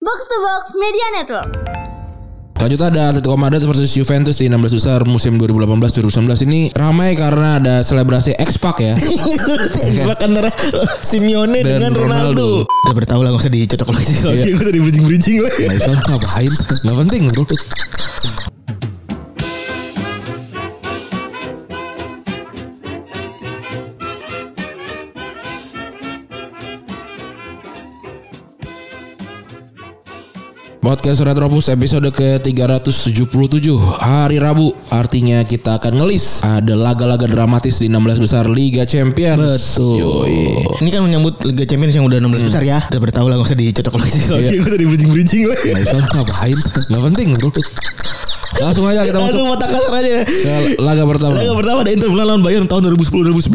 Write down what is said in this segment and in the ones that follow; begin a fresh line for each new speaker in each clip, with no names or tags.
Box to Box Media Network.
Selanjutnya ada Atletico Madrid versus Juventus di 16 besar musim 2018-2019 ini ramai karena ada selebrasi X-Pac ya.
X-Pac antara Simeone
Dan
dengan Iya kan? Ronaldo. Udah bertahu lah gak usah dicocok lagi soalnya
Iya.
gue tadi bridging-bridging lagi.
Nah, itu ngapain? Gak penting bro. Podcast Retropus episode ke-377 Hari Rabu Artinya kita akan ngelis Ada laga-laga dramatis di 16 besar Liga Champions Yoi.
Ini kan menyambut Liga Champions yang udah 16 besar ya. Udah bertahu lah gak usah dicocok lagi soalnya
Iya.
gue tadi bridging-bridging lagi.
Nah, itu ngapain? Gak penting bro. Langsung aja kita masuk
Langsung mata kasar aja.
ke laga pertama
Laga pertama ada Inter Milan lawan Bayern tahun 2010-2011.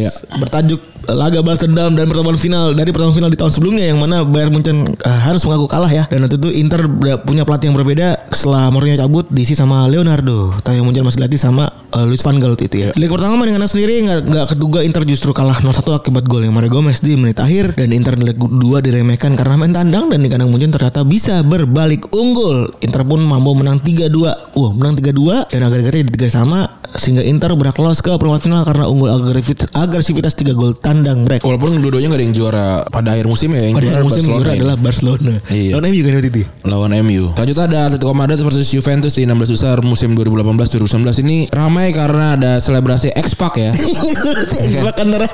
Iya.
Bertajuk eh, laga balas dendam dan pertemuan final dari pertemuan final di tahun sebelumnya yang mana Bayern Munchen eh, harus mengaku kalah ya. Dan waktu itu Inter ber- punya pelatih yang berbeda setelah Mourinho cabut diisi sama Leonardo. Tayo Munchen masih dilatih sama eh, Luis van Gaal waktu itu ya. Di Laga pertama dengan sendiri nggak nggak keduga Inter justru kalah 0-1 akibat golnya Mario Gomez di menit akhir dan Inter di leg 2 diremehkan karena main tandang dan di kandang Munchen ternyata bisa berbalik unggul. Inter pun mampu menang 3-2. Wah, menang 3-2 dan agak-agaknya di 3 sama sehingga Inter berak lolos ke perempat final karena unggul agresivit- agresivitas 3 gol tandang mereka.
Walaupun dua-duanya gak ada yang juara pada akhir musim ya yang
Pada
juara
akhir musim
Iya, Barcelona
juara
ya.
adalah Barcelona.
Iya.
Lawan MU kan waktu itu.
lawan MU. Selanjutnya ada Atletico Madrid versus Juventus di 16 besar musim 2018-2019 ini ramai karena ada selebrasi X-Pac ya.
Sepak antara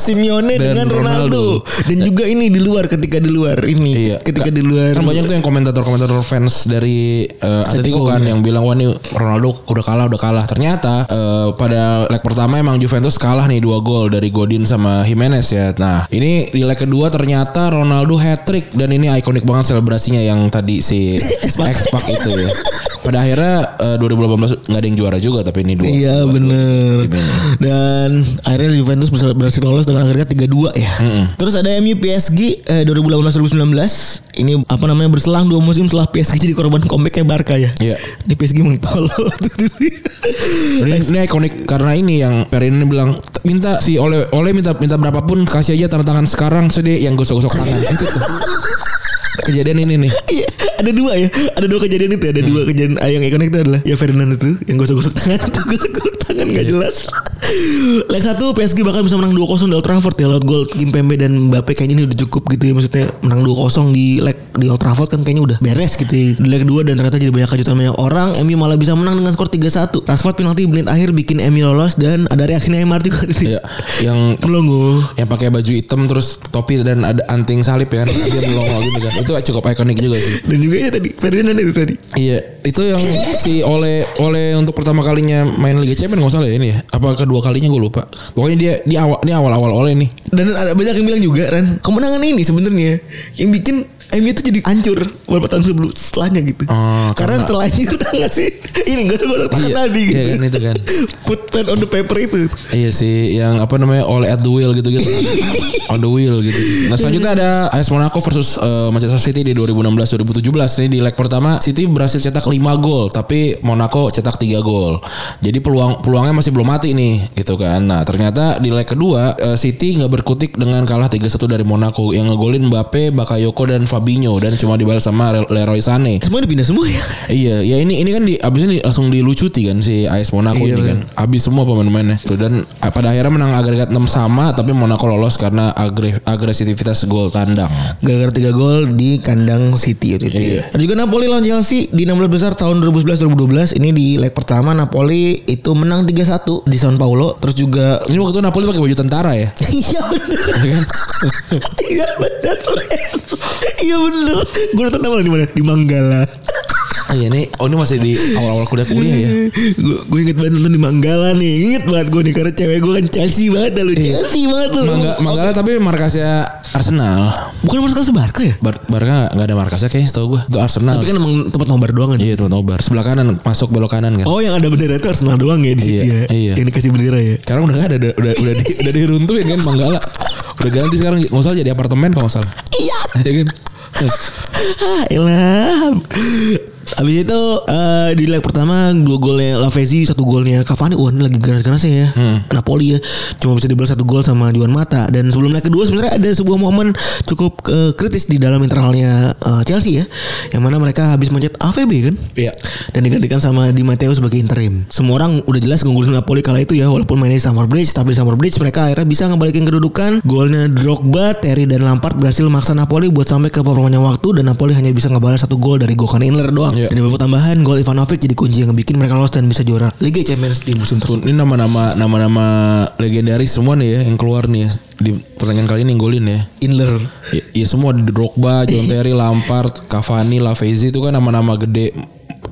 Simeone
Dan
dengan Ronaldo. dan juga ini di luar ketika di luar ini ketika
Ka-
di luar
Iya. Kan banyak tuh yang komentator-komentator fans dari eh, Atletico kan yang bilang wah ini Ronaldo udah kalah udah kalah. Ternyata eh, pada leg pertama emang Juventus kalah nih dua gol dari Godin sama Jimenez ya. Nah, ini di leg kedua ternyata Ronaldo hat trick dan ini ikonik banget selebrasinya yang tadi si X-Pac itu ya. Pada akhirnya eh, 2018 nggak ada yang juara juga tapi ini dua.
Iya
dua-
bener Dan akhirnya Juventus berhasil, berhasil lolos dengan agregat 3-2 ya Terus ada MU PSG eh, 2018-2019 Ini apa namanya berselang dua musim setelah PSG jadi korban comebacknya Barca ya
Iya.
Ini PSG mengtolol
Ini, ini ikonik karena ini yang Perin bilang "T- minta si oleh oleh minta minta berapapun kasih aja tanda tangan sekarang sedih yang gosok-gosok tangan itu tuh. Kejadian ini nih.
Iya, ada dua ya ada dua kejadian itu ya. ada dua kejadian ah, yang ikonik itu adalah ya Ferdinand itu yang gosok-gosok tangan itu gosok-gosok tangan nggak jelas leg satu PSG bahkan bisa menang 2-0 di Old Trafford ya lewat gol Kim Pembe dan Mbappe kayaknya ini udah cukup gitu ya maksudnya menang 2-0 di leg di Old Trafford kan kayaknya udah beres gitu ya. di leg 2 dan ternyata jadi banyak kejutan banyak orang MU malah bisa menang dengan skor 3-1 Rashford penalti menit akhir bikin MU lolos dan ada reaksi Neymar juga
Ya, yang
melongo
yang pakai baju hitam terus topi dan ada anting salib ya kan. Dia melongo gitu kan. Itu cukup ikonik juga sih.
dan juga ya tadi Ferdinand itu tadi
Iya, itu yang si oleh oleh untuk pertama kalinya main Liga Champions nggak salah ya ini ya. Apa kedua kalinya gue lupa. Pokoknya dia di awal ini awal-awal oleh nih.
Dan ada banyak yang bilang juga Ren Kemenangan ini sebenarnya Yang bikin MU tuh jadi hancur Beberapa tahun sebelum setelahnya gitu
Oh,
Karena
karena-
setelah itu tau gak sih Ini gak usah gosok tangan
Iya,
tadi
iya
gitu
kan, itu kan.
Put pen on the paper itu
Iya sih, yang apa namanya all at the wheel gitu gitu, on the wheel gitu. Nah selanjutnya ada AS Monaco versus eh, Manchester City di 2016-2017. Ini di leg pertama City berhasil cetak 5 gol, tapi Monaco cetak 3 gol. Jadi peluang peluangnya masih belum mati nih, gitu kan. Nah ternyata di leg kedua eh, City nggak berkutik dengan kalah 3-1 dari Monaco yang ngegolin Mbappe, Bakayoko dan Fabinho dan cuma dibalas sama Leroy Sané.
Semua dipindah semua ya
Iya, ya ini ini kan di abisnya di- langsung dilucuti kan si AS Monaco
Iya,
ini kan. Abis semua pemain-pemainnya. Tuh, dan ah, pada akhirnya menang agregat 6 sama tapi Monaco lolos karena agre- agresivitas gol tandang.
Gara-gara 3 gol di kandang City waktu itu
Iya.
ya. Ada juga Napoli lawan Chelsea di 16 besar tahun 2011-2012 Ini di leg pertama Napoli itu menang 3-1 di San Paulo Terus juga
Ini waktu itu Napoli pakai baju tentara ya.
Iya bener Iya bener Ren. Iya bener Gue nonton nama di mana? Di Manggala
Ah, iya nih, oh ini masih di awal-awal kuliah-kuliah ya.
Gue gue inget banget nonton di Manggala nih Inget banget gue nih Karena cewek gue kan Chelsea banget dah lu Chelsea banget lu
Mangga, Iya. Manggala tapi markasnya Arsenal.
Bukan masuk ke Barca ya?
Bar Barca nggak- nggak ada markasnya kayaknya setahu gua. Itu Arsenal.
Tapi kan emang tempat nobar doang kan
Iya, teman nobar sebelah kanan masuk belok kanan kan.
Oh yang ada bendera itu Arsenal doang ya di situ
Iya,
ya
iya.
Yang dikasih bendera ya
Sekarang udah gak ada udah udah, udah, di- udah diruntuhin kan Manggala. Udah ganti sekarang nggak salah jadi Ya kan? Nah, apartemen kalau nggak salah.
Iya
Iya kan?
Ah elah Habis itu eh, di leg pertama dua golnya Lavezzi, satu golnya Cavani. Wah ini lagi ganas-ganasnya ya. Napoli ya. Cuma bisa dibalas satu gol sama Juan Mata. Dan sebelum leg kedua sebenarnya ada sebuah momen cukup eh, kritis di dalam internalnya eh, Chelsea ya. Yang mana mereka habis mencet AVB kan.
Iya.
Dan digantikan sama Di Matteo sebagai interim. Semua orang udah jelas ngunggulin Napoli kala itu ya. Walaupun mainnya di Stamford Bridge. Tapi di Stamford Bridge mereka akhirnya bisa ngebalikin kedudukan. Golnya Drogba, Terry dan Lampard berhasil maksa Napoli buat sampai ke perpanjangan waktu. Dan Napoli hanya bisa ngebalas satu gol dari Gokan Inler doang.
Iya.
Dan beberapa tambahan gol Ivanovic jadi kunci yang bikin mereka lolos dan bisa juara Liga Champions di musim tersebut.
Ini nama-nama nama-nama legendaris semua nih ya yang keluar nih ya, di pertandingan kali ini yang golin ya.
Inler.
Ya, ya semua ada Drogba, John Terry, Lampard, Cavani, Lavezzi itu kan nama-nama gede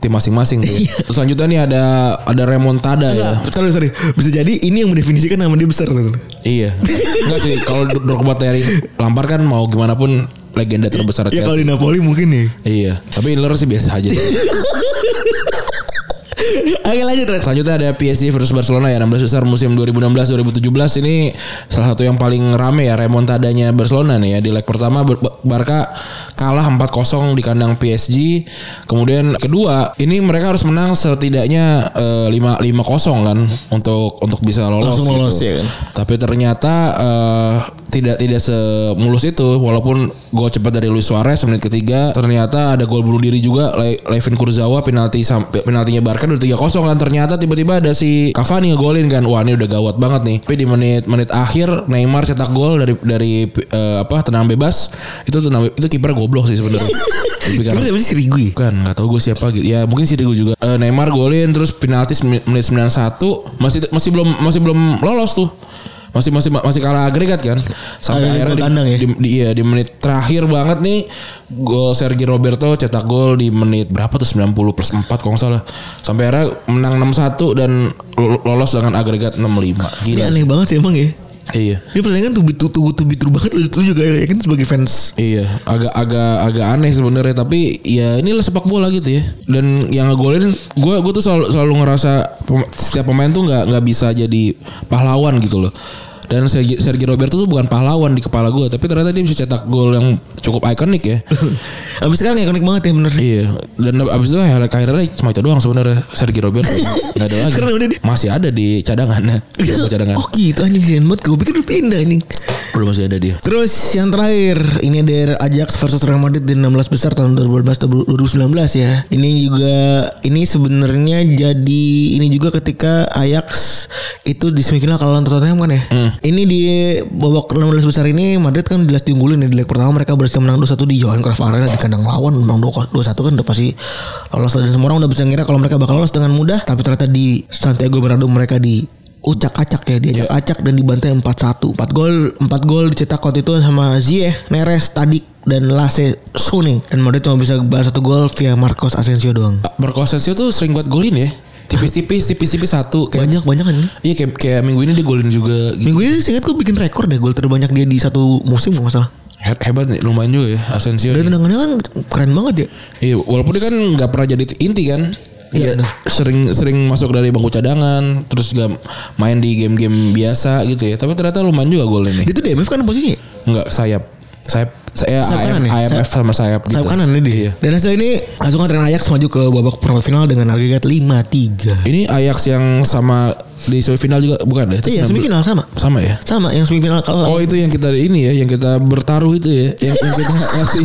tim masing-masing tuh. ya. Terus selanjutnya nih ada ada remontada ya.
Sorry, sorry. Bisa jadi ini yang mendefinisikan nama dia besar. tuh.
Iya. Enggak sih kalau Drogba, Terry, Lampard kan mau gimana pun legenda terbesar
Ya kalau
Chelsea.
di Napoli mungkin ya.
Iya. Tapi Inler sih biasa aja.
Oke lanjut Ren.
Selanjutnya ada PSG versus Barcelona ya 16 besar musim 2016-2017 ini salah satu yang paling rame ya remontadanya Barcelona nih ya di leg pertama Bar- Barca kalah 4-0 di kandang PSG. Kemudian kedua ini mereka harus menang setidaknya eh, 5 5-0 kan untuk untuk bisa lolos.
Langsung
gitu.
lolos, ya kan?
Tapi ternyata eh, tidak tidak semulus itu walaupun gol cepat dari Luis Suarez menit ketiga ternyata ada gol bunuh diri juga Le- Levin Kurzawa penalti sam- penaltinya Barca udah 3-0 kan ternyata tiba-tiba ada si Cavani ngegolin kan wah ini udah gawat banget nih tapi di menit menit akhir Neymar cetak gol dari dari eh, apa tenang bebas itu tenang itu kiper goblok sih sebenarnya Lebih
Tapi
karena-
siapa sih Sirigu ya?
Bukan, nggak tahu gue siapa gitu. Ya mungkin Sirigu juga. Eh, Neymar golin terus penalti sem- menit 91 masih masih belum masih belum lolos tuh. Masih masih masih kalah agregat kan. Sampai akhirnya
Agregat gol
di,
tandang ya?
di, di- iya, di menit terakhir banget nih gol Sergio Roberto cetak gol di menit berapa tuh 90 plus 4 kalau nggak salah. Sampai akhirnya menang 6-1 dan lo- lolos dengan agregat 65.
Ini
Gila. sih.
aneh banget sih emang ya.
Iya.
Dia pertandingan tuh bitu tuh tuh bitu banget lu, lu juga ya kan sebagai fans.
Iya, agak agak agak aneh sebenarnya tapi ya inilah sepak bola gitu ya. Dan yang ngegolin gue gue tuh selalu selalu ngerasa pem- setiap pemain tuh nggak nggak bisa jadi pahlawan gitu loh. Dan Sergi- Sergio Roberto tuh bukan pahlawan di kepala gue, tapi ternyata dia bisa cetak gol yang cukup ikonik ya.
Abis sekarang ikonik banget ya bener.
iya. Dan abis itu akhirnya akhirnya cuma itu doang sebenarnya Sergio Roberto nggak ada lagi.
Sekarang udah dia-
Masih ada di cadangan. Di bawah cadangan.
Oh gitu anjing sih banget gue pikir udah pindah anjing.
Belum masih ada dia.
Terus yang terakhir ini ada Ajax versus Real Madrid di 16 besar tahun 2014 2019 ya. Ini juga ini sebenarnya jadi ini juga ketika Ajax itu di semifinal kalah lawan Tottenham kan ya. Ini di babak 16 besar ini Madrid kan jelas diunggulin ya. di leg pertama mereka berhasil menang 2-1 di Johan Cruyff Arena di kandang lawan menang 2-1 kan udah pasti lolos dan semua orang udah bisa ngira kalau mereka bakal lolos dengan mudah tapi ternyata di Santiago Bernabeu mereka di ucak-acak ya
Iya.
diacak-acak dan dibantai 4-1. 4 gol 4 gol dicetak waktu itu sama Ziyech, Neres, Tadic dan Lasse Sune. Dan Madrid cuma bisa balas satu gol via Marcos Asensio doang.
Marco Asensio tuh sering buat golin ya. Tipis-tipis, tipis-tipis satu. Kayak
Banyak banyak kan?
Iya kayak, kayak minggu ini dia golin juga gitu.
Minggu ini singkat gue bikin rekor deh gol terbanyak dia di satu musim kalau nggak salah.
He- Hebat nih lumayan juga ya Asensio.
Dan tendangannya kan keren banget ya.
Iya walaupun dia kan nggak pernah jadi inti kan. Iya
bener.
sering sering masuk dari bangku cadangan terus juga main di game-game biasa gitu ya. Tapi ternyata lumayan juga gol ini.
Dia tuh DMF kan posisinya.
Nggak sayap sayap saya
Sayap
sayap
kanan ya?
IMF sama sayap gitu.
Sayap kanan ini dia.
Iya.
Dan hasil ini langsung antrean Ajax maju ke babak perempat final dengan agregat 5-3.
Ini Ajax yang sama di semifinal juga bukan deh?
Iya, semifinal sama.
Sama ya?
Sama yang semifinal kalah.
Oh itu yang kita ini ya, yang kita bertaruh itu ya, yang, yang kita ngasih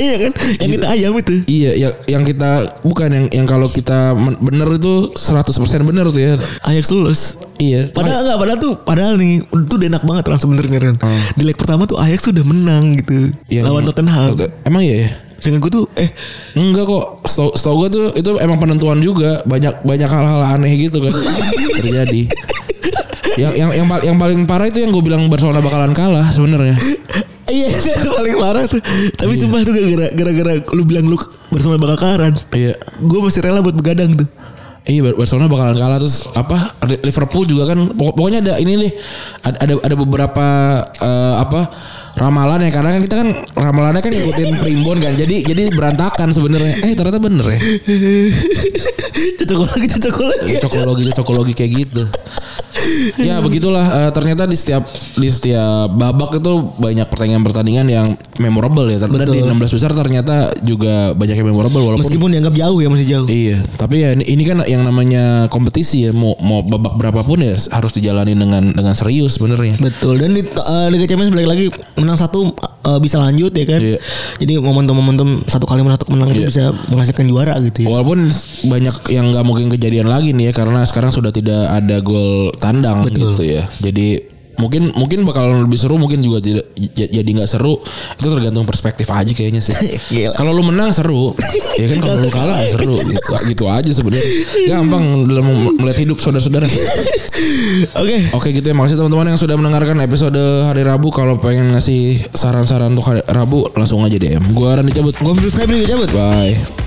iya kan? Yang kita ayam itu.
Iya, yang yang kita bukan yang yang kalau kita men- bener itu 100% bener tuh ya.
Ajax lulus.
Iya.
Padahal enggak, padahal tuh padahal nih itu udah enak banget lah sebenarnya Ren. Di leg pertama tuh Ajax tuh udah Hmm. menang gitu.
Iya,
lawan Tottenham.
Tot- Emang iya ya?
Sehingga gue tuh eh
Enggak kok. Setau, setau gue tuh itu emang penentuan juga. Banyak banyak hal-hal aneh gitu kan terjadi. Yang yang yang, pal- yang paling parah itu yang gue bilang Barcelona bakalan kalah sebenarnya.
iya itu paling parah tuh. Tapi sumpah tuh gara-gara gara-gara lu bilang lu bersama bakal karan.
Iya.
Gue masih rela buat begadang tuh.
Iya Bar- Barcelona bakalan kalah terus apa Liverpool juga kan pokok- pokoknya ada ini deh ada ada, ada beberapa eh, apa ramalan ya karena kan kita kan ramalannya kan ngikutin primbon kan jadi jadi berantakan sebenarnya eh ternyata bener ya
cocok lagi cocok lagi.
cocokologi cocokologi kayak gitu ya begitulah eh, ternyata di setiap di setiap babak itu banyak pertandingan pertandingan yang memorable ya. Dan di 16 besar ternyata juga banyak yang memorable walaupun
Meskipun dianggap jauh ya masih jauh.
Iya, tapi ya ini, ini kan yang namanya kompetisi ya mau mau babak berapapun ya harus dijalani dengan dengan serius sebenarnya.
Betul. Dan di eh, Liga Champions balik lagi menang satu eh, bisa lanjut ya kan.
Iya.
Jadi momentum-momentum satu kali menang satu menang itu
Iya.
bisa menghasilkan juara gitu ya.
Walaupun banyak yang nggak mungkin kejadian lagi nih ya karena sekarang sudah tidak ada gol tandang
Betul.
gitu ya. Jadi mungkin mungkin bakalan lebih seru mungkin juga tidak j- jadi nggak seru itu tergantung perspektif aja kayaknya sih
Gila.
kalau lu menang seru ya kan kalau lu kalah nggak seru gitu, gitu aja sebenarnya gampang dalam melihat hidup saudara-saudara
Oke.
Oke gitu ya makasih teman-teman yang sudah mendengarkan episode hari Rabu kalau pengen ngasih saran-saran untuk hari Rabu langsung aja DM. Gua Randy cabut.
Gue Febri cabut.
Bye.